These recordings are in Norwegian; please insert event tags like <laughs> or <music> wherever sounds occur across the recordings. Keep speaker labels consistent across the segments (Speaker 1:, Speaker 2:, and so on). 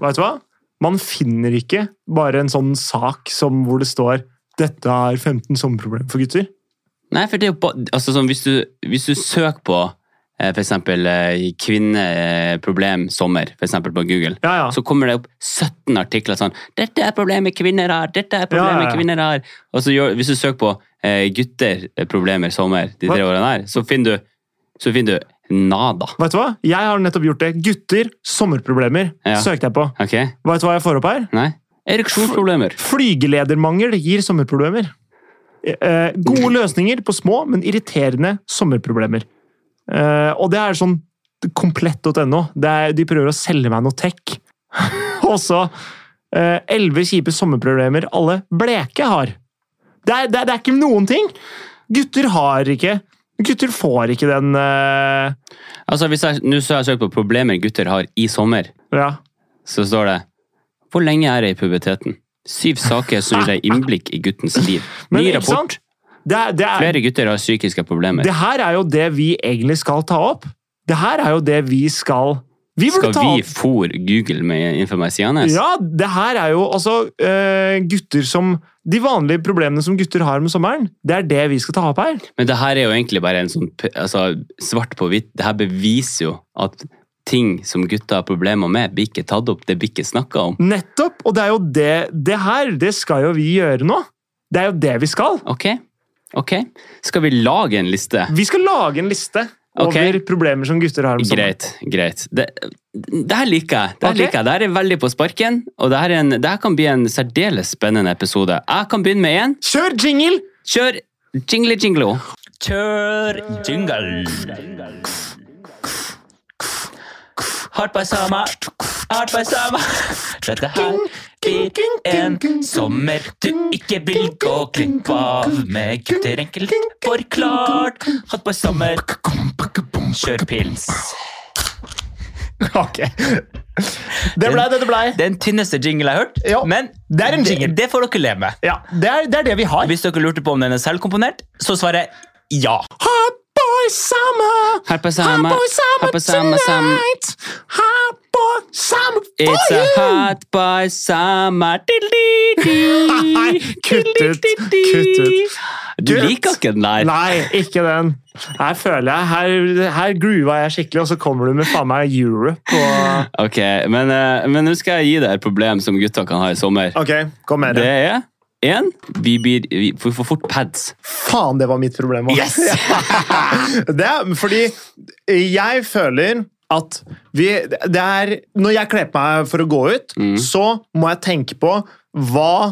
Speaker 1: vet du hva? Man finner ikke bare en sånn sak som hvor det står 'Dette er 15 sommerproblemer for gutter'.
Speaker 2: Nei, for det er jo ba- altså, sånn, hvis, du, hvis du søker på eh, for eksempel eh, kvinneproblem sommer, for eksempel på Google,
Speaker 1: Ja, ja.
Speaker 2: så kommer det opp 17 artikler sånn 'Dette er problemet kvinner har! Dette er
Speaker 1: Ja,
Speaker 2: problemet
Speaker 1: ja, ja.
Speaker 2: kvinner har!' Og så gjør, hvis du søker på eh, 'gutter eh, problemer sommer' de tre
Speaker 1: Hva?
Speaker 2: årene her, så finner du, så finner du nada.
Speaker 1: Vet du hva? Jeg har nettopp gjort det. 'Gutter sommerproblemer'
Speaker 2: Ja.
Speaker 1: søkte jeg på.
Speaker 2: Ok?
Speaker 1: Vet du hva jeg får opp her?
Speaker 2: Nei? Ereksjonsproblemer.
Speaker 1: Flygeledermangel gir sommerproblemer. Eh, gode løsninger på små, men irriterende sommerproblemer. Eh, og det er sånn komplett.no. Det er- De prøver å selge meg noe tech. <laughs> og så eh, elleve kjipe sommerproblemer alle bleke har. Det er, det, er, det er ikke noen ting! Gutter har ikke Gutter får ikke den eh,
Speaker 2: Altså, hvis jeg, nå så har jeg søkt på 'problemer gutter har i sommer',
Speaker 1: Ja.
Speaker 2: så står det 'Hvor lenge er jeg i puberteten?' Syv saker som gir deg innblikk i guttens liv.
Speaker 1: Men
Speaker 2: Ny
Speaker 1: ikke
Speaker 2: rapport.
Speaker 1: sant? Det er, det er,
Speaker 2: Flere gutter har psykiske problemer.
Speaker 1: Det her er jo det vi egentlig skal ta opp. Det her er jo det vi skal Vi burde
Speaker 2: Skal
Speaker 1: ta
Speaker 2: vi
Speaker 1: opp
Speaker 2: fôre Google med informasjones?
Speaker 1: Ja, det her er jo altså eh, gutter som De vanlige problemene som gutter har med sommeren, det er det vi skal ta opp her.
Speaker 2: Men det her er jo egentlig bare en sånn p- altså, svart på hvitt. Det her beviser jo at ting som gutter har problemer med, blir ikke tatt opp. Det blir ikke snakka om.
Speaker 1: Nettopp! Og det er jo det Det her, det skal jo vi gjøre nå. Det er jo det vi skal.
Speaker 2: Ok? Ok? Skal vi lage en liste?
Speaker 1: Vi skal lage en liste
Speaker 2: Ok.
Speaker 1: over problemer som gutter har med sommeren.
Speaker 2: Greit. greit. Det, det her liker jeg. Det her
Speaker 1: Ok.
Speaker 2: liker jeg. Det her er veldig på sparken, og det her, er en, det her kan bli en særdeles spennende episode. Jeg kan begynne med én.
Speaker 1: Kjør
Speaker 2: <laughs>
Speaker 1: jingle!
Speaker 2: Kjør jingle jinglo. Kjør jingle. Hardt på sama, hardt på sama. Dette her blir en sommer du ikke vil gå glipp av. Med gutter enkelt forklart. Hardt på sommer, kjør pils.
Speaker 1: Ok. Det blei det det blei.
Speaker 3: Den tynneste jingle jeg har hørt.
Speaker 1: Ja,
Speaker 3: men
Speaker 1: det er en jingle.
Speaker 3: Det, det får dere leve med.
Speaker 1: Ja, det er, det er det vi har.
Speaker 3: Hvis dere lurte på om den er selvkomponert, så svarer jeg ja.
Speaker 1: Hot boy summer!
Speaker 2: Hot boy summer.
Speaker 1: Hot boy summer
Speaker 2: Hot boy summer, sum-
Speaker 1: tonight! Hot boy summer for
Speaker 2: It's a
Speaker 1: you!
Speaker 2: hot boy summer.
Speaker 1: <laughs> Nei, kutt ut. Kutt ut.
Speaker 2: Du liker ikke den der.
Speaker 1: Nei, ikke den. Her føler jeg, her, her groova jeg skikkelig, og så kommer du med faen meg Europe og...
Speaker 2: Ok, men, eh, men nå skal jeg gi deg et problem som gutter kan ha i sommer.
Speaker 1: Ok, kom med
Speaker 2: Det
Speaker 1: det.
Speaker 2: er en, vi, blir, vi vi får fort pads.
Speaker 1: Faen, det var mitt problem. også.
Speaker 2: Yes!
Speaker 1: <laughs> det er fordi jeg føler at vi Det er Når jeg kler på meg for å gå ut, så må jeg tenke på hva,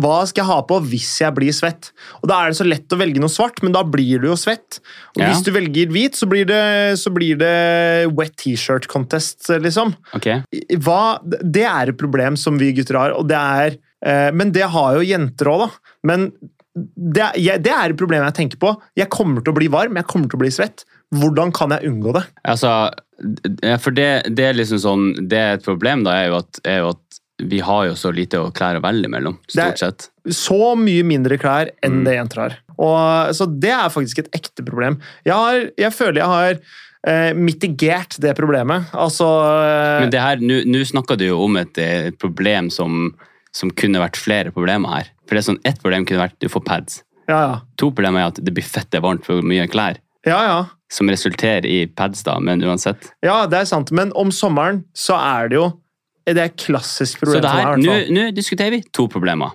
Speaker 1: hva skal jeg ha på hvis jeg blir svett? Og Da er det så lett å velge noe svart, men da blir du jo svett. Og
Speaker 2: Ja.
Speaker 1: Hvis du velger hvit, så blir det, så blir det wet T-shirt contest, liksom.
Speaker 2: Ok,
Speaker 1: Hva, det er et problem som vi gutter har, og det er, eh, men det har jo jenter òg, da. Men det, er- jeg, det er et problem jeg tenker på. Jeg kommer til å bli varm, jeg kommer til å bli svett. Hvordan kan jeg unngå det?
Speaker 2: altså, d- ja, for det, det er liksom sånn, det er et problem da, er jo at, er jo at vi har jo så lite å klær å velge mellom,
Speaker 1: Det
Speaker 2: stort sett.
Speaker 1: Så mye mindre klær
Speaker 2: Mm.
Speaker 1: enn det jenter har. Og, så det er faktisk et ekte problem. Jeg, har, jeg føler jeg har eh, mitigert det problemet. Altså eh,
Speaker 2: Men det her, nå nå snakker du jo om et, eh, et problem som, som kunne vært flere problemer her. For det er sånn, ett problem kunne vært, du får pads.
Speaker 1: Ja, ja.
Speaker 2: To problemer er at det blir fette varmt for mye klær,
Speaker 1: Ja, ja.
Speaker 2: som resulterer i pads da, men uansett.
Speaker 1: Ja, det er sant. Men om sommeren så er det jo Det er et klassisk
Speaker 2: Så
Speaker 1: problem
Speaker 2: det her,
Speaker 1: for meg. i
Speaker 2: nå
Speaker 1: hvert fall.
Speaker 2: nå diskuterer vi to problemer.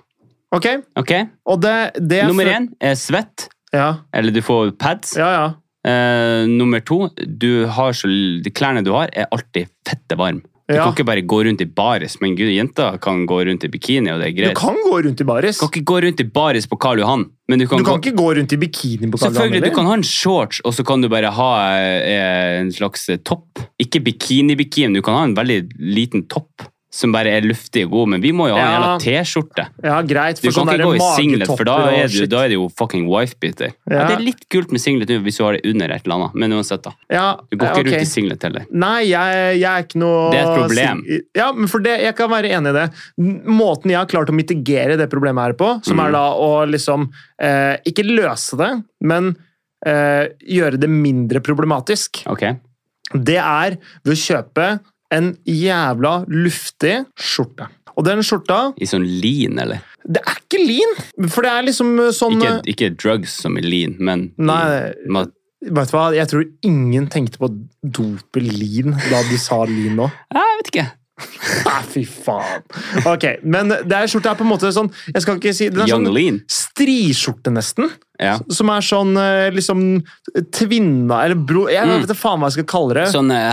Speaker 1: Ok?
Speaker 2: Ok,
Speaker 1: Og det, det jeg
Speaker 2: nummer
Speaker 1: føl-
Speaker 2: én er svett,
Speaker 1: Ja,
Speaker 2: eller du får pads.
Speaker 1: ja, ja.
Speaker 2: Eh, nummer to, du har så, de klærne du har er alltid fette varm. Du
Speaker 1: Ja.
Speaker 2: kan ikke bare gå rundt i baris, men gud, jenter kan gå rundt i bikini, og det er
Speaker 1: Du
Speaker 2: greit. Du kan,
Speaker 1: kan gå rundt i baris.
Speaker 2: ikke gå rundt i baris på Karl Johan, men du kan,
Speaker 1: Du kan
Speaker 2: gå
Speaker 1: ikke gå rundt i bikini på Karl Johan.
Speaker 2: Selvfølgelig, du
Speaker 1: eller?
Speaker 2: kan ha en shorts, og så kan du bare ha eh, en slags eh, topp. Ikke bikini-bikini, du kan ha en veldig liten topp som bare er luftig og god, men vi må jo ha en
Speaker 1: Ja.
Speaker 2: jævla T-skjorte.
Speaker 1: Ja, greit.
Speaker 2: Du
Speaker 1: For
Speaker 2: kan
Speaker 1: sånn
Speaker 2: ikke gå i singlet, for da er, du,
Speaker 1: det
Speaker 2: da er det jo fucking wife-beater. Ja.
Speaker 1: Ja.
Speaker 2: det er litt kult med singlet nå, hvis du har det under et eller annet, men uansett, da.
Speaker 1: ja,
Speaker 2: Du går ikke
Speaker 1: ok.
Speaker 2: rundt i singlet heller.
Speaker 1: Nei, jeg, jeg er ikke noe
Speaker 2: Det er et problem.
Speaker 1: sing- Ja, men for det, Jeg kan være enig i det. N- Måten jeg har klart å mitigere det problemet her på, som
Speaker 2: Mm.
Speaker 1: er da å liksom eh, Ikke løse det, men eh, gjøre det mindre problematisk,
Speaker 2: Ok?
Speaker 1: det er ved å kjøpe en jævla luftig skjorte. Og den skjorta,
Speaker 2: I sånn lean, eller?
Speaker 1: det er ikke lin, for det er liksom sånn
Speaker 2: Ikke, ikke drugs som i lean, men i
Speaker 1: Nei.
Speaker 2: mat.
Speaker 1: Vet du hva, jeg tror ingen tenkte på å dope lin da de sa lin
Speaker 2: <laughs>
Speaker 1: nå.
Speaker 2: Nei, Jeg vet ikke.
Speaker 1: Nei, fy faen. Ok, men det er skjorta er på en måte sånn, jeg skal ikke si, den er
Speaker 2: Young
Speaker 1: sånn
Speaker 2: lean.
Speaker 1: striskjorte nesten,
Speaker 2: Ja.
Speaker 1: som er sånn eh, liksom tvinna, eller bro, jeg
Speaker 2: Mm.
Speaker 1: vet ikke faen hva jeg skal kalle det.
Speaker 2: Sånn eh,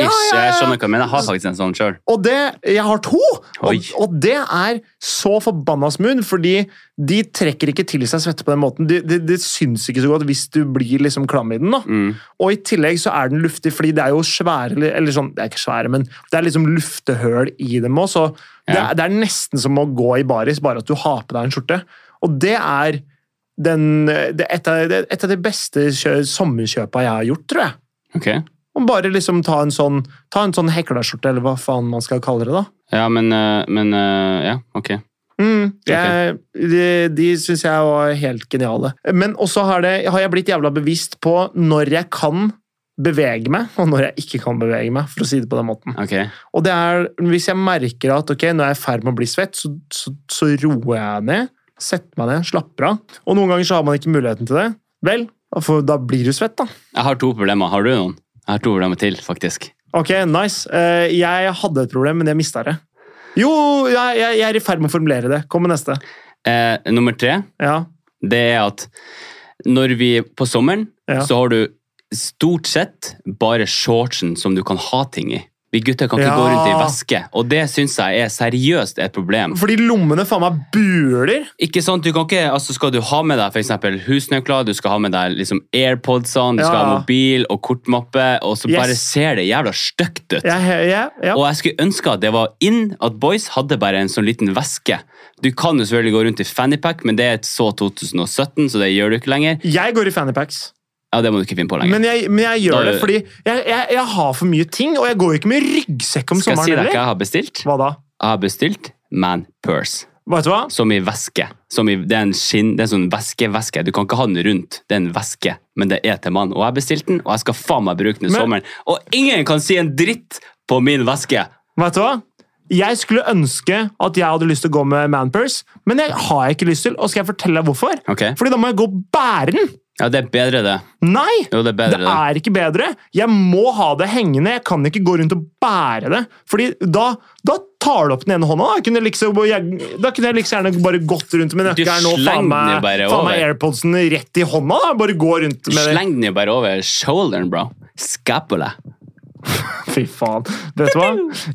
Speaker 1: Ja, ja, ja.
Speaker 2: Jeg skjønner hva jeg mener. Jeg har faktisk en sånn sjøl.
Speaker 1: Og det, jeg har to!
Speaker 2: Oi.
Speaker 1: Og, og det er så forbanna smooth, fordi de trekker ikke til seg svette på den måten. Det de, de syns ikke så godt hvis du blir liksom klam i den. da.
Speaker 2: Mm.
Speaker 1: Og i tillegg så er den luftig, fordi det er jo svære Eller sånn, det er ikke svære, men det er liksom luftehøl i dem òg, så det,
Speaker 2: Ja.
Speaker 1: er, det er nesten som å gå i baris, bare at du har på deg en skjorte. Og det er den, det er et, av, det er et av de beste kjø, sommerkjøpa jeg har gjort, tror jeg.
Speaker 2: Ok.
Speaker 1: Om bare liksom ta en sånn, ta en sånn heklerskjorte, eller hva faen man skal kalle det, da.
Speaker 2: Ja, men, eh, men eh, Ja, ok.
Speaker 1: Mm, jeg, De, de syns jeg var helt geniale. Men også har, det, har jeg blitt jævla bevisst på når jeg kan bevege meg, og når jeg ikke kan bevege meg, for å si det på den måten.
Speaker 2: ok.
Speaker 1: Og det er, Hvis jeg merker at ok, nå er jeg i ferd med å bli svett, så, så, så roer jeg ned. Setter meg ned, slapper av. Og noen ganger så har man ikke muligheten til det. Vel, for da blir du svett, da.
Speaker 2: Jeg har to problemer. Har du noen? Jeg har to problemer til, faktisk.
Speaker 1: Ok, nice. Eh, jeg hadde et problem, men jeg mista det. Jo, jeg, jeg, jeg er i ferd med å formulere det. Kom med neste.
Speaker 2: Eh, nummer tre,
Speaker 1: Ja.
Speaker 2: det er at når vi På sommeren
Speaker 1: Ja.
Speaker 2: så har du stort sett bare shortsen som du kan ha ting i. Vi gutter kan ikke
Speaker 1: Ja.
Speaker 2: gå rundt i veske, og det syns jeg er seriøst et problem.
Speaker 1: Fordi lommene faen meg buler.
Speaker 2: Ikke sant, du kan ikke, altså Skal du ha med deg for eksempel husnøkler, du skal ha med deg liksom AirPodsene, du skal
Speaker 1: Ja.
Speaker 2: ha mobil og kortmappe, og så
Speaker 1: Yes.
Speaker 2: bare ser det jævla stygt ut.
Speaker 1: Ja, he- ja, ja.
Speaker 2: Og jeg skulle ønske at det var in at boys hadde bare en sånn liten veske. Du kan jo selvfølgelig gå rundt i fannypack, men det er et så 2017, så det gjør du ikke lenger.
Speaker 1: Jeg går i fannypacks,
Speaker 2: Ja, det må du ikke finne på lenger.
Speaker 1: men, jeg- men jeg gjør
Speaker 2: Da-
Speaker 1: det fordi jeg, jeg, jeg har for mye ting, og jeg går jo ikke med ryggsekk om
Speaker 2: Skal jeg
Speaker 1: sommeren
Speaker 2: si deg hva
Speaker 1: heller.
Speaker 2: jeg har bestilt?
Speaker 1: Hva da?
Speaker 2: Jeg har bestilt man purse.
Speaker 1: Vet du hva?
Speaker 2: Som i veske. Som i, det er en skinn, det er en sånn veske-veske. Du kan ikke ha den rundt. Det er en veske, men det er til mann. Og jeg har bestilt den, og jeg skal faen meg bruke den i
Speaker 1: Men-
Speaker 2: sommeren. Og ingen kan si en dritt på min veske!
Speaker 1: Vet du hva? Jeg skulle ønske at jeg hadde lyst til å gå med manpurse, men det har jeg ikke lyst til, og skal jeg fortelle deg hvorfor?
Speaker 2: Ok?
Speaker 1: Fordi da må jeg gå og bære den!
Speaker 2: Ja, det er bedre, det.
Speaker 1: Nei!
Speaker 2: Jo, det
Speaker 1: Det
Speaker 2: er bedre, det.
Speaker 1: er ikke bedre. Jeg må ha det hengende. Jeg kan ikke gå rundt og bære det. Fordi da, da tar du opp den ene hånda. Da kunne jeg like så- jeg- da kunne jeg like så gjerne bare gått rundt med
Speaker 2: Du
Speaker 1: nøkkelen og
Speaker 2: slenger
Speaker 1: faen meg,
Speaker 2: den jo bare
Speaker 1: faen meg
Speaker 2: over.
Speaker 1: airpodsen rett i hånda. Da. Bare gå rundt med det.
Speaker 2: Sleng den jo bare over shoulderen, bro. Scapula.
Speaker 1: Fy faen. Vet du hva?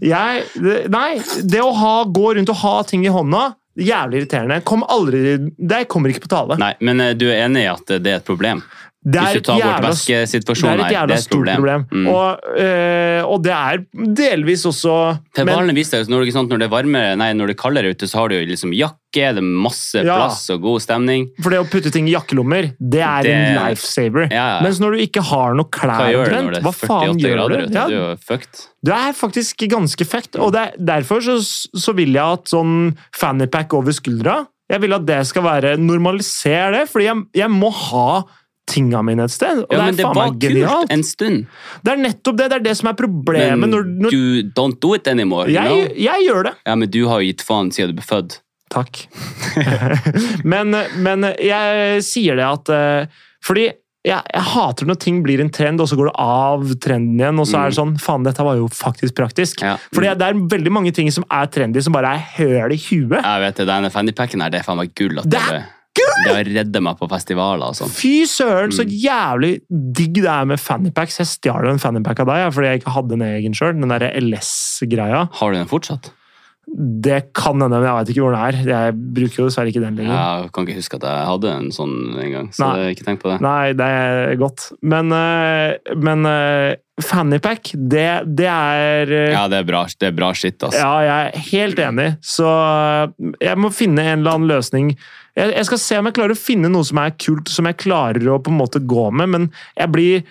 Speaker 1: Jeg, det, nei, det å ha, gå rundt og ha ting i hånda Jævlig irriterende. Kom aldri, det kommer ikke på tale.
Speaker 2: Nei, men eh, du er enig i at eh, det er et problem?
Speaker 1: Det er
Speaker 2: Hvis
Speaker 1: et
Speaker 2: du tar bort
Speaker 1: jævla Det
Speaker 2: væskesituasjonen
Speaker 1: er et
Speaker 2: her,
Speaker 1: jævla
Speaker 2: det er et
Speaker 1: stort problem.
Speaker 2: problem. Mm.
Speaker 1: Og, eh, og det er delvis også men-
Speaker 2: Februaren viser deg, når, det- ikke sant, når det er varmere, nei, når det er kaldere ute, så har du jo liksom jakke, det er masse
Speaker 1: Ja.
Speaker 2: plass og god stemning.
Speaker 1: For det å putte ting i jakkelommer, det er en
Speaker 2: Det-
Speaker 1: lifesaver.
Speaker 2: Ja, ja.
Speaker 1: Mens når du ikke har noe klær,
Speaker 2: Hva gjør du
Speaker 1: omtrent,
Speaker 2: når det
Speaker 1: hva
Speaker 2: er
Speaker 1: faen
Speaker 2: 48
Speaker 1: gjør
Speaker 2: grader
Speaker 1: du?
Speaker 2: ute? Du er
Speaker 1: Ja,
Speaker 2: jo fucked.
Speaker 1: det er faktisk ganske fucked. Og det er, derfor så, så vil jeg at sånn fannypack over skuldra Jeg vil at det skal være Normaliser det, fordi jeg, jeg må ha tinga mine et sted. Og
Speaker 2: Ja,
Speaker 1: det
Speaker 2: men
Speaker 1: er
Speaker 2: det
Speaker 1: faen
Speaker 2: var
Speaker 1: meg genialt.
Speaker 2: kult en stund.
Speaker 1: Det er nettopp det. Det er det som er problemet.
Speaker 2: Men
Speaker 1: når, når
Speaker 2: you don't do it anymore. You
Speaker 1: jeg,
Speaker 2: know?
Speaker 1: jeg gjør det.
Speaker 2: Ja, men du har jo gitt faen siden du ble født.
Speaker 1: Takk. <laughs> men, men jeg sier det at eh, Fordi jeg, jeg hater når ting blir en trend, og så går det av trenden igjen. Og så er det sånn Faen, dette var jo faktisk praktisk.
Speaker 2: Mm. Ja.
Speaker 1: Fordi det er veldig mange ting som er trendy, som bare er høl i huet.
Speaker 2: Jeg vet det, denne fannypacken her, det er faen meg gull. At
Speaker 1: Det
Speaker 2: det,
Speaker 1: er
Speaker 2: det har reddet meg på festivaler og sånn.
Speaker 1: Fy søren, så jævlig digg det er med fannypacks. Jeg stjal jo en fannypack av deg jeg, fordi jeg ikke hadde en egen sjøl. Den derre LS-greia.
Speaker 2: Har du den fortsatt?
Speaker 1: Det kan hende, men jeg veit ikke hvor den er. Jeg bruker jo dessverre ikke den lenger.
Speaker 2: Jeg kan ikke huske at jeg hadde en sånn en gang, så
Speaker 1: Mm. Nei.
Speaker 2: det- ikke tenk på det.
Speaker 1: Nei, det er godt. Men, eh, men eh, fannypack, det, det er eh,
Speaker 2: Ja, det er bra, det er bra shit, altså. ass.
Speaker 1: Ja, jeg er helt enig. Så eh, jeg må finne en eller annen løsning. Jeg, jeg skal se om jeg klarer å finne noe som er kult, som jeg klarer å på en måte gå med, men jeg blir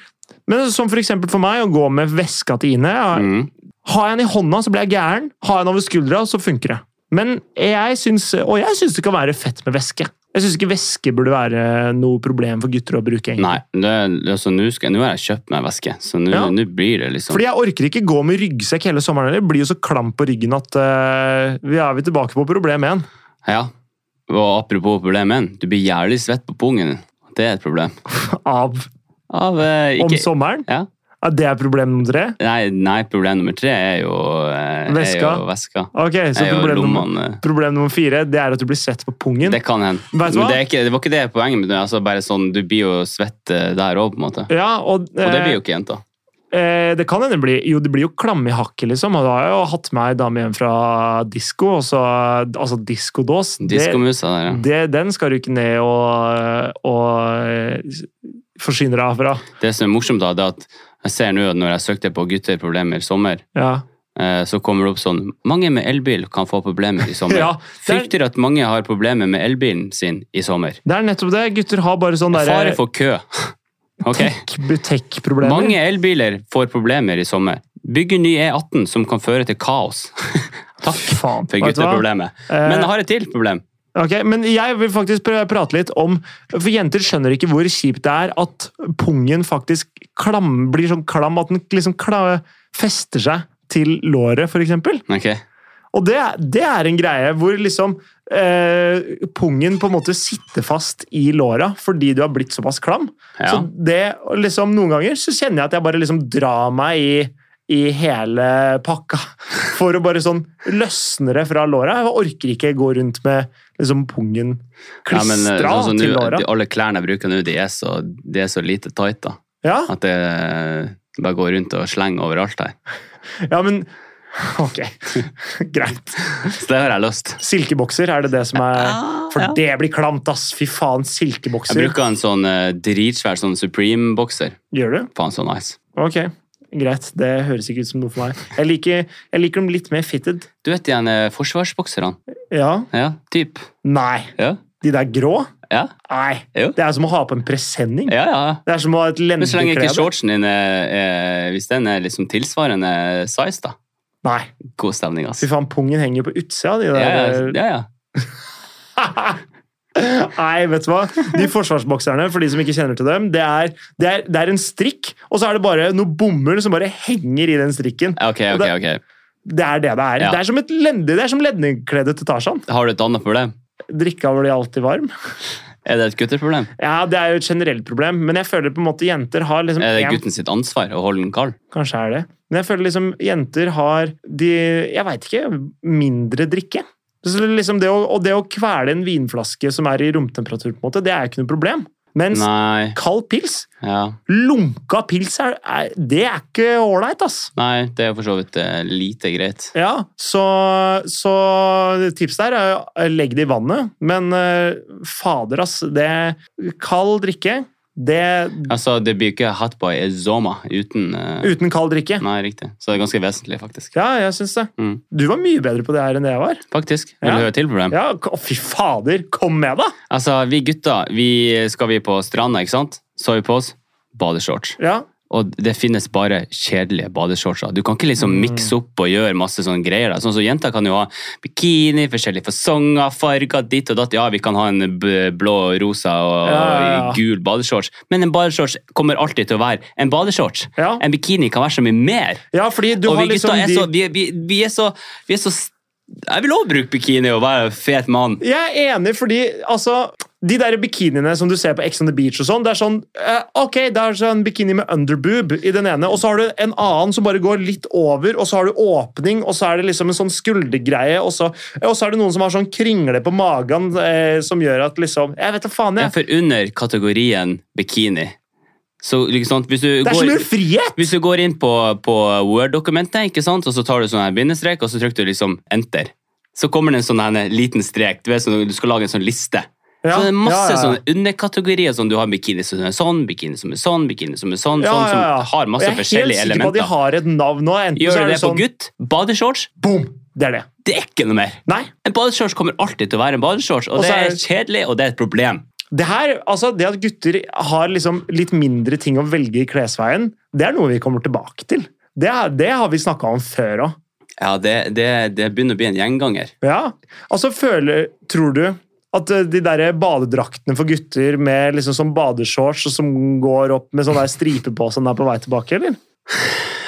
Speaker 1: men som for eksempel for meg, å gå med veska til Ine. Jeg,
Speaker 2: Mhm.
Speaker 1: Har jeg den i hånda, så blir jeg gæren. Har jeg den over skuldra, så funker det. Men jeg syns, og jeg syns det kan være fett med væske. Jeg syns ikke væske burde være noe problem for gutter å bruke. egentlig.
Speaker 2: Nei, det, er- altså, nå skal- nå har jeg kjøpt meg væske, så nå
Speaker 1: Ja.
Speaker 2: nå blir det liksom
Speaker 1: Fordi jeg orker ikke gå med ryggsekk hele sommeren heller. Blir jo så klam på ryggen at eh, vi er vi tilbake på problem én.
Speaker 2: Ja. Og apropos problem én, du blir jævlig svett på pungen din. Det er et problem.
Speaker 1: Av
Speaker 2: Av eh,
Speaker 1: om
Speaker 2: ikke
Speaker 1: sommeren.
Speaker 2: ja.
Speaker 1: Ja, det er problem nummer tre.
Speaker 2: nei, nei, problem nummer tre er jo eh,
Speaker 1: Væska.
Speaker 2: Er jo væska.
Speaker 1: Ok, så
Speaker 2: er jo
Speaker 1: problem nummer,
Speaker 2: lommene. eh.
Speaker 1: problem nummer fire det er at du blir svett på pungen.
Speaker 2: Det kan hende.
Speaker 1: Vet du
Speaker 2: Men
Speaker 1: hva?
Speaker 2: Det, er ikke, det var ikke det poenget, men det er altså bare sånn, du blir jo svett eh, der òg, på en måte.
Speaker 1: Ja, og,
Speaker 2: Og det blir jo ikke jenta.
Speaker 1: Eh, det kan hende bli Jo, det blir jo klamme i hakket, liksom. Og da har jeg jo hatt med ei dame hjem fra disko, og så Altså diskodås. Det,
Speaker 2: Diskomusa der, ja.
Speaker 1: det, den skal du ikke ned og, og eh, forsyne deg fra.
Speaker 2: Det som er morsomt, da, det er at jeg ser nå at når jeg søkte på gutter problemer i sommer,
Speaker 1: Ja.
Speaker 2: eh, så kommer det opp sånn Mange med elbil kan få problemer i sommer.
Speaker 1: <laughs> Ja, det, er,
Speaker 2: Frykter at mange har problemer med elbilen sin i sommer.
Speaker 1: det er nettopp det. Gutter har bare sånn
Speaker 2: Fare
Speaker 1: derre
Speaker 2: for kø. <laughs> Ok.
Speaker 1: butikk-problemer.
Speaker 2: Mange elbiler får problemer i sommer. Bygger ny E18 som kan føre til kaos. <laughs> Takk
Speaker 1: Faen. Vet
Speaker 2: for
Speaker 1: du hva? Eh,
Speaker 2: gutteproblemet. Men jeg har et til problem.
Speaker 1: Ok, Men jeg vil faktisk prø- prate litt om For jenter skjønner ikke hvor kjipt det er at pungen faktisk klam, blir sånn klam at den liksom kla, fester seg til låret, for eksempel.
Speaker 2: Ok.
Speaker 1: Og det, det er en greie hvor liksom eh, pungen på en måte sitter fast i låra fordi du har blitt såpass klam.
Speaker 2: Ja.
Speaker 1: Så det, og liksom Noen ganger så kjenner jeg at jeg bare liksom drar meg i, i hele pakka <laughs> for å bare sånn løsne det fra låra. Jeg orker ikke gå rundt med liksom pungen
Speaker 2: Ja, men, eh,
Speaker 1: klistra
Speaker 2: sånn som
Speaker 1: til
Speaker 2: nå,
Speaker 1: låra.
Speaker 2: de- alle klærne jeg bruker nå, de er så, de er så lite tight da.
Speaker 1: Ja,
Speaker 2: At det eh, bare går rundt og slenger overalt her. <laughs>
Speaker 1: ja, men <laughs> Ok, greit.
Speaker 2: Så det har jeg lyst.
Speaker 1: Silkebokser, er det det som er For det blir klamt, ass! Fy faen,
Speaker 2: Jeg
Speaker 1: silkebokser.
Speaker 2: bruker en sånn eh, dritsvær sånn Supreme-bokser.
Speaker 1: Gjør du?
Speaker 2: Faen, så nice.
Speaker 1: Ok, greit. Det høres ikke ut som noe for meg. Jeg liker, jeg liker dem litt mer fitted.
Speaker 2: Du vet de eh, forsvarsbokserne?
Speaker 1: Ja.
Speaker 2: Ja, typ.
Speaker 1: Nei.
Speaker 2: Ja,
Speaker 1: De der grå?
Speaker 2: ja,
Speaker 1: Nei.
Speaker 2: Jo.
Speaker 1: Det er som å ha på en presenning.
Speaker 2: ja. ja.
Speaker 1: Mm, Det er som å ha et
Speaker 2: Men så lenge ikke
Speaker 1: lendeklede.
Speaker 2: shortsen din er, er Hvis den er liksom tilsvarende size, da.
Speaker 1: Nei.
Speaker 2: God stemning, ass.
Speaker 1: Fy faen, pungen henger jo på utsida av de
Speaker 2: Ja,
Speaker 1: der. eh,
Speaker 2: ja, ja, ja.
Speaker 1: <laughs> Nei, vet du hva? De forsvarsbokserne, for de som ikke kjenner til dem, det er, det er, det er en strikk, og så er det bare noe bomull som bare henger i den strikken.
Speaker 2: Ok, ok, ok.
Speaker 1: Det er det det er.
Speaker 2: Ja.
Speaker 1: Det er som et lende, det er som lendekledet til Tarzan.
Speaker 2: Har du et annet problem?
Speaker 1: Drikka blir alltid varm.
Speaker 2: Er det et gutteproblem?
Speaker 1: Ja, Det er jo et generelt problem, men jeg føler på en måte jenter har liksom
Speaker 2: Er det
Speaker 1: en-
Speaker 2: gutten sitt ansvar å holde den kald?
Speaker 1: Kanskje er det. Men jeg føler liksom jenter har de, Jeg veit ikke. Mindre drikke. Så liksom det å, og det å kvele en vinflaske som er i romtemperatur, på en måte, det er jo ikke noe problem. Mens
Speaker 2: Nei.
Speaker 1: kald pils,
Speaker 2: Ja.
Speaker 1: lunka pils, er, er, det er ikke ålreit, ass.
Speaker 2: Nei, det er for så vidt eh, lite greit.
Speaker 1: Ja, så, så tips der er å legge det i vannet. Men eh, fader, ass. Det, kald drikke, det
Speaker 2: Altså, det blir jo ikke Hotboy Ezoma uten eh,
Speaker 1: Uten kald drikke.
Speaker 2: Nei, riktig. Så det er ganske vesentlig, faktisk.
Speaker 1: Ja, jeg syns det.
Speaker 2: Mm.
Speaker 1: Du var mye bedre på det her enn det jeg var.
Speaker 2: Faktisk. Vil
Speaker 1: Ja.
Speaker 2: du høre et til problem?
Speaker 1: Ja, k- å, fy fader, kom med da!
Speaker 2: Altså, vi gutter, vi skal vi på stranda, ikke sant? Så har vi på oss badeshorts.
Speaker 1: Ja,
Speaker 2: Og det finnes bare kjedelige badeshortser. Du kan ikke liksom
Speaker 1: Mm.
Speaker 2: mikse opp og gjøre masse sånne greier. Da. Sånn som Jenter kan jo ha bikini, forskjellige fasonger, farger, ditt og datt. Ja, vi kan ha en b- blå, rosa og
Speaker 1: Ja, ja, ja.
Speaker 2: gul badeshorts, men en badeshorts kommer alltid til å være en badeshorts.
Speaker 1: Ja.
Speaker 2: En bikini kan være så mye mer.
Speaker 1: ja fordi du
Speaker 2: og
Speaker 1: har
Speaker 2: vi
Speaker 1: liksom
Speaker 2: gutter er
Speaker 1: de
Speaker 2: så vi, vi, vi er så Vi er så s- Jeg vil òg bruke bikini og være fet mann.
Speaker 1: Jeg er enig, fordi altså De der bikiniene som du ser på Ex on the Beach og sånn, det er sånn eh, Ok, det er sånn bikini med underboob i den ene, og så har du en annen som bare går litt over, og så har du åpning, og så er det liksom en sånn skuldergreie, og så, og så er det noen som har sånn kringle på magen eh, som gjør at liksom Jeg vet da faen,
Speaker 2: Ja,
Speaker 1: jeg.
Speaker 2: for under kategorien bikini Så ikke sant, hvis du
Speaker 1: Det er så mye
Speaker 2: går
Speaker 1: frihet!
Speaker 2: hvis du går inn på, på Word-dokumentet, ikke sant, og så tar du sånn her bindestrek, og så trykker du liksom enter. Så kommer det en sånn her liten strek. Du, vet, sånn, du skal lage en sånn liste.
Speaker 1: Ja,
Speaker 2: så det er masse
Speaker 1: ja,
Speaker 2: sånn-
Speaker 1: ja.
Speaker 2: sånne underkategorier som du har bikini som er sånn, bikini som er sånn, bikini som er sånn,
Speaker 1: Ja,
Speaker 2: sånn, som
Speaker 1: ja, ja.
Speaker 2: har masse forskjellige
Speaker 1: Jeg er helt sikker på at de
Speaker 2: elementer.
Speaker 1: har et navn nå. Enten
Speaker 2: Gjør
Speaker 1: så
Speaker 2: du
Speaker 1: er
Speaker 2: det
Speaker 1: det
Speaker 2: på
Speaker 1: sånn
Speaker 2: gutt, badeshorts,
Speaker 1: Boom! Det er det.
Speaker 2: det er ikke noe mer.
Speaker 1: Nei.
Speaker 2: En badeshorts kommer alltid til å være en badeshorts, og,
Speaker 1: Og så
Speaker 2: det
Speaker 1: er-
Speaker 2: er kjedelig, og det er et problem.
Speaker 1: Det her, altså det at gutter har liksom litt mindre ting å velge i klesveien, det er noe vi kommer tilbake til. Det, er, det har vi snakka om før òg.
Speaker 2: Ja, det, det, det begynner å bli en gjenganger.
Speaker 1: Ja. Altså, føler Tror du At eh, de der badedraktene for gutter med liksom sånn badeshorts og som går opp med sånn der stripe på sånn der på vei tilbake, eller?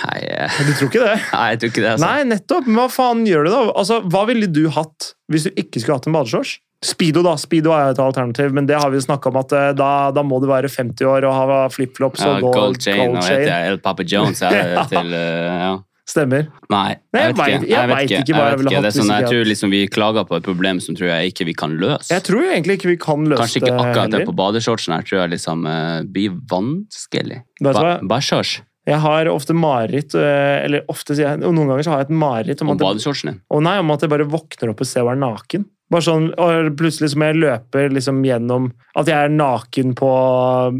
Speaker 2: Nei, eh,
Speaker 1: Du tror ikke det?
Speaker 2: nei, jeg tror ikke det. Altså.
Speaker 1: Nei, nettopp. Men hva faen gjør du da? Altså, Hva ville du hatt hvis du ikke skulle hatt en badeshorts? Speedo da, Speedo er jo et alternativ, men det har vi jo snakka om at eh, da, da må du være 50 år og ha flipflops
Speaker 2: ja,
Speaker 1: og
Speaker 2: gold,
Speaker 1: gold,
Speaker 2: chain, og heter jeg El Papa
Speaker 1: <laughs>
Speaker 2: Jones. Er det til, eh, ja.
Speaker 1: Stemmer.
Speaker 2: Nei,
Speaker 1: Nei,
Speaker 2: jeg
Speaker 1: jeg
Speaker 2: vet ikke.
Speaker 1: vet- jeg vet ikke hva jeg ville hatt
Speaker 2: Det er
Speaker 1: hvis
Speaker 2: sånn,
Speaker 1: ikke
Speaker 2: jeg
Speaker 1: jeg
Speaker 2: tror liksom vi klager på et problem som tror jeg ikke vi kan løse.
Speaker 1: Jeg tror jo egentlig ikke vi kan løse
Speaker 2: Kanskje ikke
Speaker 1: det
Speaker 2: akkurat det
Speaker 1: heller.
Speaker 2: på badeshortsen her, tror jeg liksom eh, blir vanskelig.
Speaker 1: Vet du
Speaker 2: Ba
Speaker 1: hva?
Speaker 2: Bæsjers
Speaker 1: Jeg har ofte mareritt, eh, eller ofte sier jeg, og noen ganger så har jeg et mareritt om
Speaker 2: om
Speaker 1: at, jeg,
Speaker 2: badeshortsen din.
Speaker 1: å nei, om at jeg bare våkner opp et sted og er naken. Bare sånn, og Plutselig så må jeg løpe liksom gjennom at jeg er naken på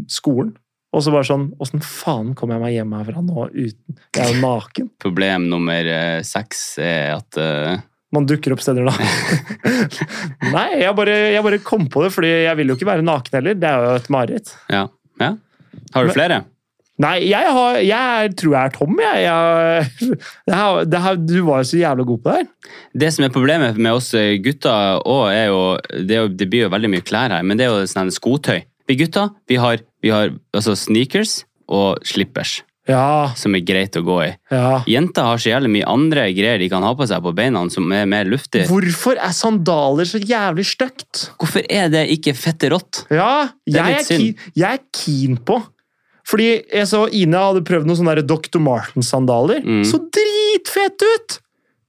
Speaker 1: skolen. Og så bare sånn Åssen faen kom jeg meg hjem herfra nå uten Jeg er jo naken.
Speaker 2: Problem nummer eh, seks er at eh,
Speaker 1: Man dukker opp steder da. <laughs> nei, jeg bare, jeg bare kom på det, fordi jeg vil jo ikke være naken heller. Det er jo et mareritt.
Speaker 2: ja. ja. Har
Speaker 1: Men-
Speaker 2: du flere?
Speaker 1: Nei, jeg, har, jeg er- tror jeg er tom, jeg. jeg <laughs> det her, det her, du var jo så jævla god på det her.
Speaker 2: Det som er problemet med oss gutter også er jo Det, er jo, det blir jo veldig mye klær her, men det er jo sånn skotøy. Vi gutter vi har, vi har altså sneakers og slippers,
Speaker 1: Ja,
Speaker 2: som er greit å gå i.
Speaker 1: ja.
Speaker 2: Jenter har så jævlig mye andre greier de kan ha på seg på beina som er mer luftig.
Speaker 1: Hvorfor er sandaler så jævlig stygt?
Speaker 2: Hvorfor er det ikke fette rått?
Speaker 1: Ja,
Speaker 2: Det er
Speaker 1: jeg er,
Speaker 2: litt synd.
Speaker 1: keen, jeg er keen på. Fordi jeg så Ina hadde prøvd noen sånne der Dr. Martens-sandaler.
Speaker 2: Mm.
Speaker 1: Så dritfete ut!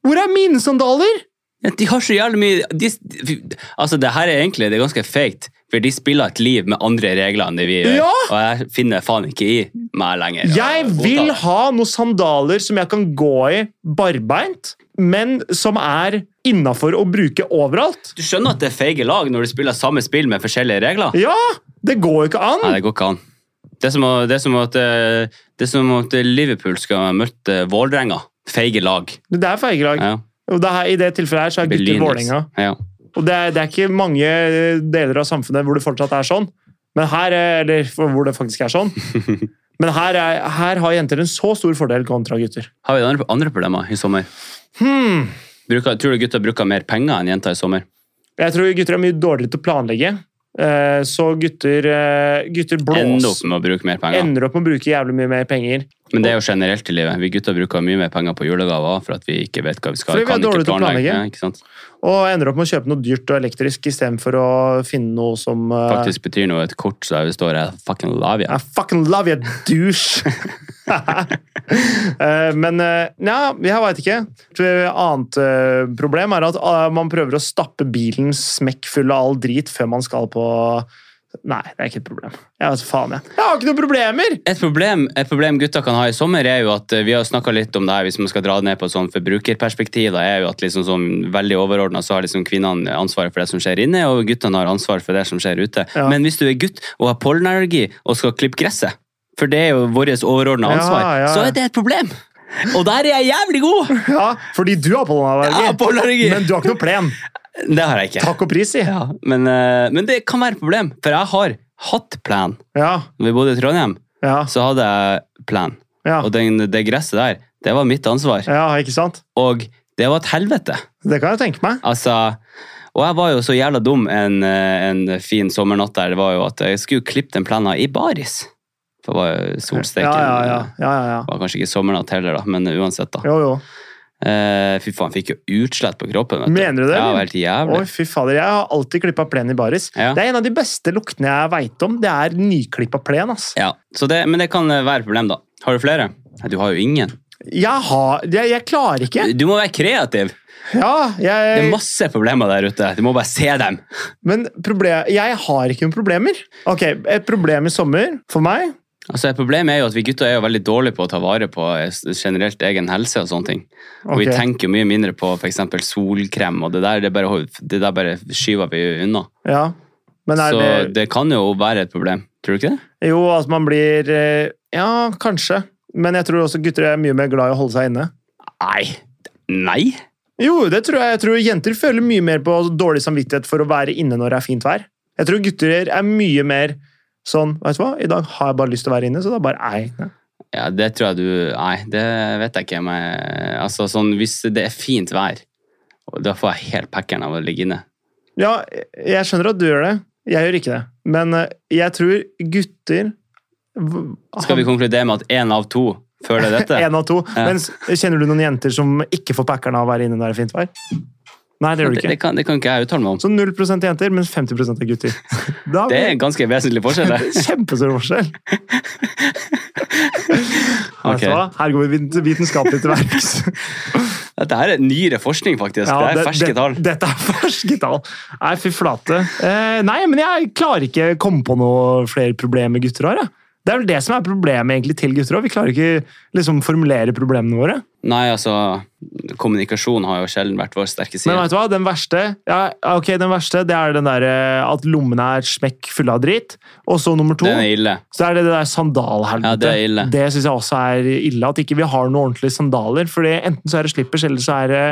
Speaker 1: Hvor er mine sandaler?
Speaker 2: Ja, De har så jævlig mye de, Altså, det her er egentlig det er ganske fake, for de spiller et liv med andre regler enn det vi gjør.
Speaker 1: Ja!
Speaker 2: Og jeg finner faen ikke i meg lenger.
Speaker 1: Jeg
Speaker 2: Og-
Speaker 1: vil ha noen sandaler som jeg kan gå i barbeint, men som er innafor å bruke overalt.
Speaker 2: Du skjønner at det er feige lag når du spiller samme spill med forskjellige regler?
Speaker 1: Ja! Det går jo ikke an!
Speaker 2: Nei, det går ikke an. Det er som, å- det er som, at, eh, det er som at Liverpool skal møte Vålerenga. Feige lag.
Speaker 1: Det er feige lag.
Speaker 2: Ja.
Speaker 1: Og det her, I det tilfellet her så er gutter
Speaker 2: Berlin,
Speaker 1: Vålerenga.
Speaker 2: liksom. Ja.
Speaker 1: Og det er, det er ikke mange eh, deler av samfunnet hvor det fortsatt er sånn. Men her, eh, eller for- hvor det faktisk er sånn. Men her, er, her har jenter en så stor fordel kontra gutter.
Speaker 2: Har vi andre, andre problemer i sommer?
Speaker 1: Hmm.
Speaker 2: Bruker, tror du gutter bruker mer penger enn jenter i sommer?
Speaker 1: Jeg tror gutter er mye dårligere til å planlegge. Eh, Så gutter, eh, gutter
Speaker 2: Ender
Speaker 1: blås,
Speaker 2: opp med å bruke mer penger.
Speaker 1: ender opp med å bruke jævlig mye mer penger.
Speaker 2: Men det er jo generelt i livet. Vi gutter bruker mye mer penger på julegaver for at vi ikke vet hva vi skal.
Speaker 1: Fordi vi er
Speaker 2: kan ikke
Speaker 1: dårlige til å
Speaker 2: planlegge.
Speaker 1: planlegge.
Speaker 2: Ja, ikke sant?
Speaker 1: Og ender opp med å kjøpe noe dyrt og elektrisk istedenfor å finne noe som eh,
Speaker 2: Faktisk betyr noe et kort så det står jeg fucking love you.
Speaker 1: I fucking love you, douche! <laughs> Eh, Men eh, nja, jeg veit ikke. Jeg tror Et annet eh, problem er at ah, man prøver å stappe bilen smekkfull av all drit før man skal på Nei, det er ikke et problem. Jeg vet faen, jeg. Jeg har ikke noen problemer!
Speaker 2: Et problem, et problem gutter kan ha i sommer, er jo at eh, vi har snakka litt om det her, hvis man skal dra det ned på et sånn forbrukerperspektiv, da er jo at liksom sånn veldig overordna så har liksom kvinnene ansvaret for det som skjer inne, og guttene har ansvar for det som skjer ute.
Speaker 1: Ja.
Speaker 2: Men hvis du er gutt og har pollenallergi og skal klippe gresset, for det er jo vårt overordna
Speaker 1: Ja,
Speaker 2: ansvar,
Speaker 1: ja.
Speaker 2: så er det et problem! Og der er jeg jævlig god!
Speaker 1: Ja, fordi du har pollenallergi.
Speaker 2: Ja, pollenallergi.
Speaker 1: Men du har ikke noe plen.
Speaker 2: Det har jeg ikke.
Speaker 1: Takk og pris, si. Ja.
Speaker 2: Ja, men, eh, men det kan være et problem, for jeg har hatt plan.
Speaker 1: Ja,
Speaker 2: Når vi bodde i Trondheim,
Speaker 1: ja,
Speaker 2: så hadde jeg plan.
Speaker 1: ja.
Speaker 2: Og den, det gresset der, det var mitt ansvar.
Speaker 1: ikke sant?
Speaker 2: Og det var et helvete.
Speaker 1: Det kan jeg tenke meg.
Speaker 2: Altså, og jeg var jo så jævla dum en, eh, en fin sommernatt der. Det var jo at jeg skulle klippe den plenen i baris. For det var jo solsteken.
Speaker 1: Ja, ja, ja. ja, ja, ja.
Speaker 2: Det var kanskje ikke sommernatt heller, da, men uansett, da.
Speaker 1: Jo, jo.
Speaker 2: Eh, fy faen, fikk jo utslett på kroppen. Vet
Speaker 1: Mener du det,
Speaker 2: Ja, det
Speaker 1: eller?
Speaker 2: var helt jævlig.
Speaker 1: Oi, fy fader, Jeg har alltid klippa plen i baris.
Speaker 2: Ja.
Speaker 1: Det er en av de beste luktene jeg veit om. Det er nyklippa plen. ass.
Speaker 2: Ja, så det, men det kan eh, være et problem, da. Har du flere? Nei, Du har jo ingen.
Speaker 1: Jeg har Jeg, jeg klarer ikke.
Speaker 2: Du må være kreativ!
Speaker 1: Ja,
Speaker 2: Det er
Speaker 1: jeg,
Speaker 2: masse problemer der ute. Du må bare se dem.
Speaker 1: men problem, jeg har ikke noen problemer. Ok, Et problem i sommer for meg
Speaker 2: Altså, et problem er jo at Vi gutter er jo veldig dårlige på å ta vare på eh, generelt egen helse. og sånne ting. Og Vi
Speaker 1: Ok.
Speaker 2: tenker jo mye mindre på for eksempel solkrem, og det der, det bare, det der bare skyver vi unna.
Speaker 1: Ja. Men er
Speaker 2: Så det...
Speaker 1: det,
Speaker 2: kan jo være et problem. Tror du ikke det?
Speaker 1: Jo, at man blir eh, Ja, kanskje. Men jeg tror også gutter er mye mer glad i å holde seg inne.
Speaker 2: Nei. Nei?
Speaker 1: Jo, det tror jeg. Jeg tror jenter føler mye mer på dårlig samvittighet for å være inne når det er fint vær. Jeg tror gutter er mye mer sånn Vet du hva, i dag har jeg bare lyst til å være inne, så da bare er jeg inne.
Speaker 2: Ja, Det tror jeg du Nei, det vet jeg ikke. Men, altså, sånn, hvis det er fint vær, og da får jeg helt pekkeren av å ligge inne.
Speaker 1: Ja, jeg skjønner at du gjør det. Jeg gjør ikke det. Men eh, jeg tror gutter v-
Speaker 2: Skal vi konkludere med at én av to føler dette?
Speaker 1: <laughs> En av to.
Speaker 2: Ja.
Speaker 1: Mens kjenner du noen jenter som ikke får packeren av å være inne når det er fint vær? Nei, det gjør du
Speaker 2: Det, det,
Speaker 1: ikke.
Speaker 2: kan, det kan ikke jeg uttale meg om.
Speaker 1: Så 0 jenter, men 50 er
Speaker 2: <laughs>
Speaker 1: gutter. Da
Speaker 2: Det er en ganske vesentlig forskjell. det.
Speaker 1: Kjempestor forskjell! Vet
Speaker 2: Ok.
Speaker 1: du hva? Her går vi vit- vitenskapelig til verks.
Speaker 2: Dette her er nyere forskning, faktisk.
Speaker 1: Ja,
Speaker 2: det er
Speaker 1: det-
Speaker 2: ferske
Speaker 1: det-
Speaker 2: tall.
Speaker 1: Dette er <laughs> ferske tall. Nei, fy flate. Eh, nei, men jeg klarer ikke å komme på noe flere problemer gutter har. jeg. Det er vel det som er problemet egentlig til gutter òg. Vi klarer ikke liksom formulere problemene våre.
Speaker 2: Nei, altså, kommunikasjon har jo sjelden vært vår sterke
Speaker 1: Men altså,
Speaker 2: side.
Speaker 1: vet du hva, den verste ja, ok, den verste, det er den der, eh, at lommene er smekk fulle av dritt. Og så nummer to
Speaker 2: Den er ille.
Speaker 1: så er det det der sandalhelvete.
Speaker 2: Ja, det er ille.
Speaker 1: Det syns jeg også er ille. At ikke vi har noen ordentlige sandaler. For enten så er det slippers, eller så er det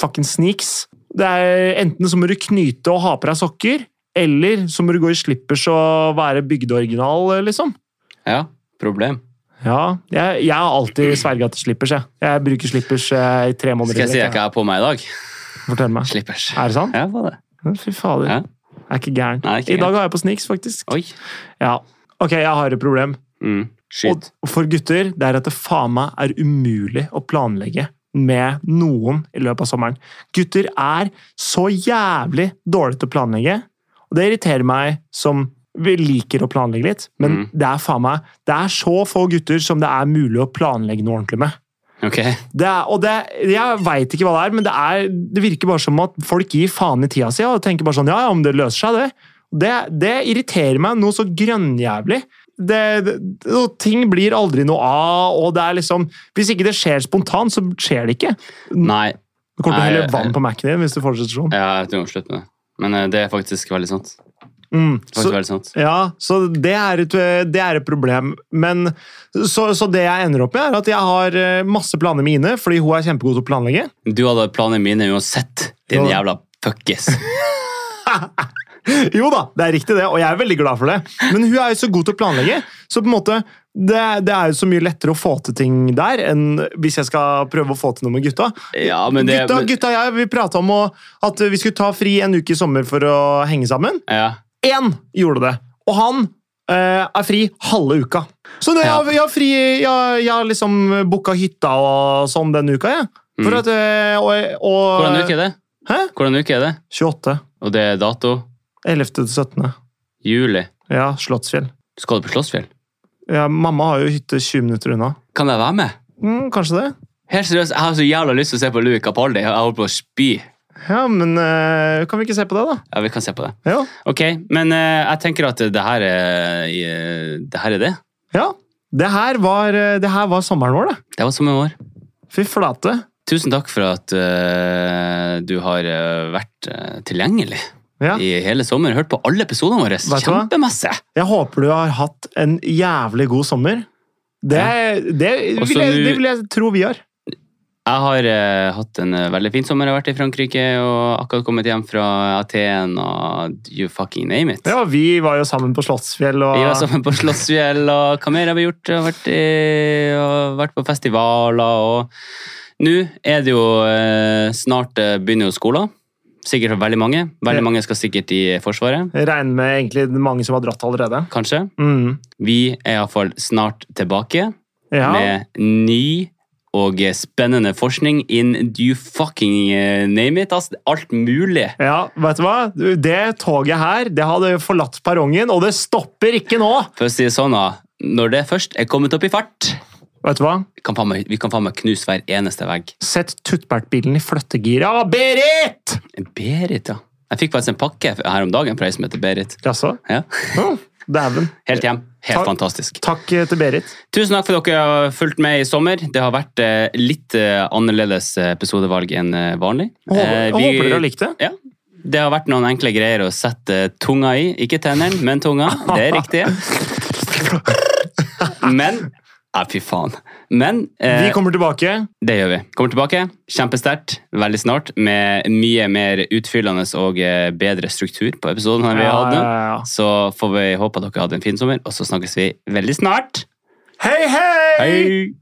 Speaker 1: fucking sneaks. Det er Enten så må du knyte og ha på deg sokker, eller så må du gå i slippers og være bygdeoriginal, liksom.
Speaker 2: Ja, problem.
Speaker 1: Ja, jeg, jeg har alltid sverga til slippers, jeg. Jeg bruker slippers eh, i tre måneder.
Speaker 2: Skal jeg si jeg
Speaker 1: jeg.
Speaker 2: ikke har på meg i dag? <laughs>
Speaker 1: Fortell meg.
Speaker 2: Slippers.
Speaker 1: Er det sant?
Speaker 2: Ja, var det.
Speaker 1: Fy fader.
Speaker 2: Ja.
Speaker 1: Jeg er ikke gæren.
Speaker 2: Nei, ikke
Speaker 1: I dag har jeg på sneaks, faktisk.
Speaker 2: Oi.
Speaker 1: Ja. Ok, jeg har et problem.
Speaker 2: Mm. Skyt.
Speaker 1: Og for gutter det er at det faen meg er umulig å planlegge med noen i løpet av sommeren. Gutter er så jævlig dårlige til å planlegge, og det irriterer meg som vi liker å planlegge litt, men det er faen meg Det er så få gutter som det er mulig å planlegge noe ordentlig med.
Speaker 2: Ok.
Speaker 1: Det er, og det, jeg veit ikke hva det er, men det, er, det virker bare som at folk gir faen i tida si og tenker bare sånn Ja, ja, om det løser seg, det. Det, det irriterer meg noe så grønnjævlig. Det, det, og ting blir aldri noe av, og det er liksom Hvis ikke det skjer spontant, så skjer det ikke.
Speaker 2: Nei,
Speaker 1: Du kommer til å
Speaker 2: Nei,
Speaker 1: helle vann på Mac-en din hvis du fortsetter sånn.
Speaker 2: ja, jeg tror jeg må slutte med det. Men eh, det er faktisk veldig sant.
Speaker 1: Mm.
Speaker 2: Faktisk
Speaker 1: Så,
Speaker 2: veldig sant.
Speaker 1: Ja, så det er et, det er et problem. Men, så, så det jeg ender opp med, er at jeg har eh, masse planer med Ine, fordi hun er kjempegod til å planlegge.
Speaker 2: Du hadde planer mine uansett, din
Speaker 1: Ja.
Speaker 2: jævla
Speaker 1: <laughs>
Speaker 2: fuckis.
Speaker 1: Jo da, det er riktig det, og jeg er veldig glad for det. Men hun er jo så god til å planlegge, så på en måte det, det er jo så mye lettere å få til ting der enn hvis jeg skal prøve å få til noe med gutta.
Speaker 2: Ja, men det...
Speaker 1: gutta, gutta og jeg vi prata om å, at vi skulle ta fri en uke i sommer for å henge sammen.
Speaker 2: Ja.
Speaker 1: Én gjorde det, og han eh, er fri halve uka. Så det,
Speaker 2: Ja.
Speaker 1: jeg, jeg, har fri, jeg, jeg har liksom booka hytta og sånn denne uka, jeg. For
Speaker 2: Mm.
Speaker 1: at, eh, og, og,
Speaker 2: Hvordan uke er det?
Speaker 1: Hæ?
Speaker 2: Hvordan uke er det?
Speaker 1: 28.
Speaker 2: Og det er dato?
Speaker 1: 11. til 17.
Speaker 2: Juli.
Speaker 1: Ja, Slottsfjell.
Speaker 2: Skal du på Slåssfjell?
Speaker 1: Ja, mamma har jo hytte 20 minutter unna.
Speaker 2: Kan jeg være med?
Speaker 1: Mm, kanskje det?
Speaker 2: Helt seriøst, jeg har så jævla lyst til å se på Louis Capaldi. Jeg holder på å spy.
Speaker 1: Ja, men eh, kan vi ikke se på det, da?
Speaker 2: Ja, vi kan se på det.
Speaker 1: Ja.
Speaker 2: Ok, men eh, jeg tenker at det her er eh, Det her er det.
Speaker 1: ja. Det, her var, eh, det her var sommeren vår, det.
Speaker 2: Det var som i år.
Speaker 1: Fy flate.
Speaker 2: Tusen takk for at eh, du har eh, vært eh, tilgjengelig
Speaker 1: Ja.
Speaker 2: i hele sommer. Hørt på alle episodene våre.
Speaker 1: Vet du hva?
Speaker 2: Kjempemasse!
Speaker 1: Jeg håper du har hatt en jævlig god sommer. Det, det,
Speaker 2: Og så
Speaker 1: vil, jeg,
Speaker 2: nu-
Speaker 1: det vil jeg tro vi har.
Speaker 2: Jeg har eh, hatt en eh, veldig fin sommer. Jeg har vært i Frankrike og akkurat kommet hjem fra Aten og you fucking name it.
Speaker 1: Ja, vi var jo sammen på Slottsfjell og
Speaker 2: Vi var sammen på Slottsfjell, og hva mer har vi gjort? Jeg Har vært, i, og vært på festivaler, og nå er det jo eh, snart eh, begynner jo skolen. Sikkert for veldig mange.
Speaker 1: Ja.
Speaker 2: Veldig mange skal sikkert i Forsvaret,
Speaker 1: Jeg regner med egentlig mange som har dratt allerede.
Speaker 2: kanskje.
Speaker 1: Mm.
Speaker 2: Vi er iallfall snart tilbake
Speaker 1: Ja.
Speaker 2: med ny og spennende forskning in you fucking eh, name it. ass. Alt mulig.
Speaker 1: ja, vet du hva? Det toget her, det hadde forlatt perrongen, og det stopper ikke nå!
Speaker 2: For å si det sånn, da. Når det først er kommet opp i fart,
Speaker 1: Vet du hva?
Speaker 2: kan faen meg- vi kan faen meg knuse hver eneste vegg.
Speaker 1: Sett tuttbertbilen i flyttegiret. Ja, Berit!
Speaker 2: Berit, ja. Jeg fikk faktisk en pakke her om dagen fra ei som heter Berit.
Speaker 1: Jaså?
Speaker 2: Ja.
Speaker 1: Å, Dæven.
Speaker 2: Helt hjem. Helt
Speaker 1: Ta-
Speaker 2: fantastisk.
Speaker 1: Takk eh, til Berit.
Speaker 2: Tusen takk for at dere har fulgt med i sommer. Det har vært eh, litt eh, annerledes eh, episodevalg enn eh, vanlig.
Speaker 1: Jeg håper,
Speaker 2: Eh,
Speaker 1: jeg
Speaker 2: vi-
Speaker 1: håper dere har likt det.
Speaker 2: Ja. Det har vært noen enkle greier å sette eh, tunga i. Ikke tennene, men tunga. Det
Speaker 1: <laughs>
Speaker 2: er riktig. Men Ja, fy faen. Men
Speaker 1: Vi
Speaker 2: eh,
Speaker 1: kommer tilbake.
Speaker 2: Det gjør vi. Kommer tilbake kjempesterkt veldig snart med mye mer utfyllende og eh, bedre struktur på episoden enn vi har hatt nå.
Speaker 1: Ja, ja, ja.
Speaker 2: Så får vi håpe at dere hadde en fin sommer, og så snakkes vi veldig snart.
Speaker 1: Hei, hei!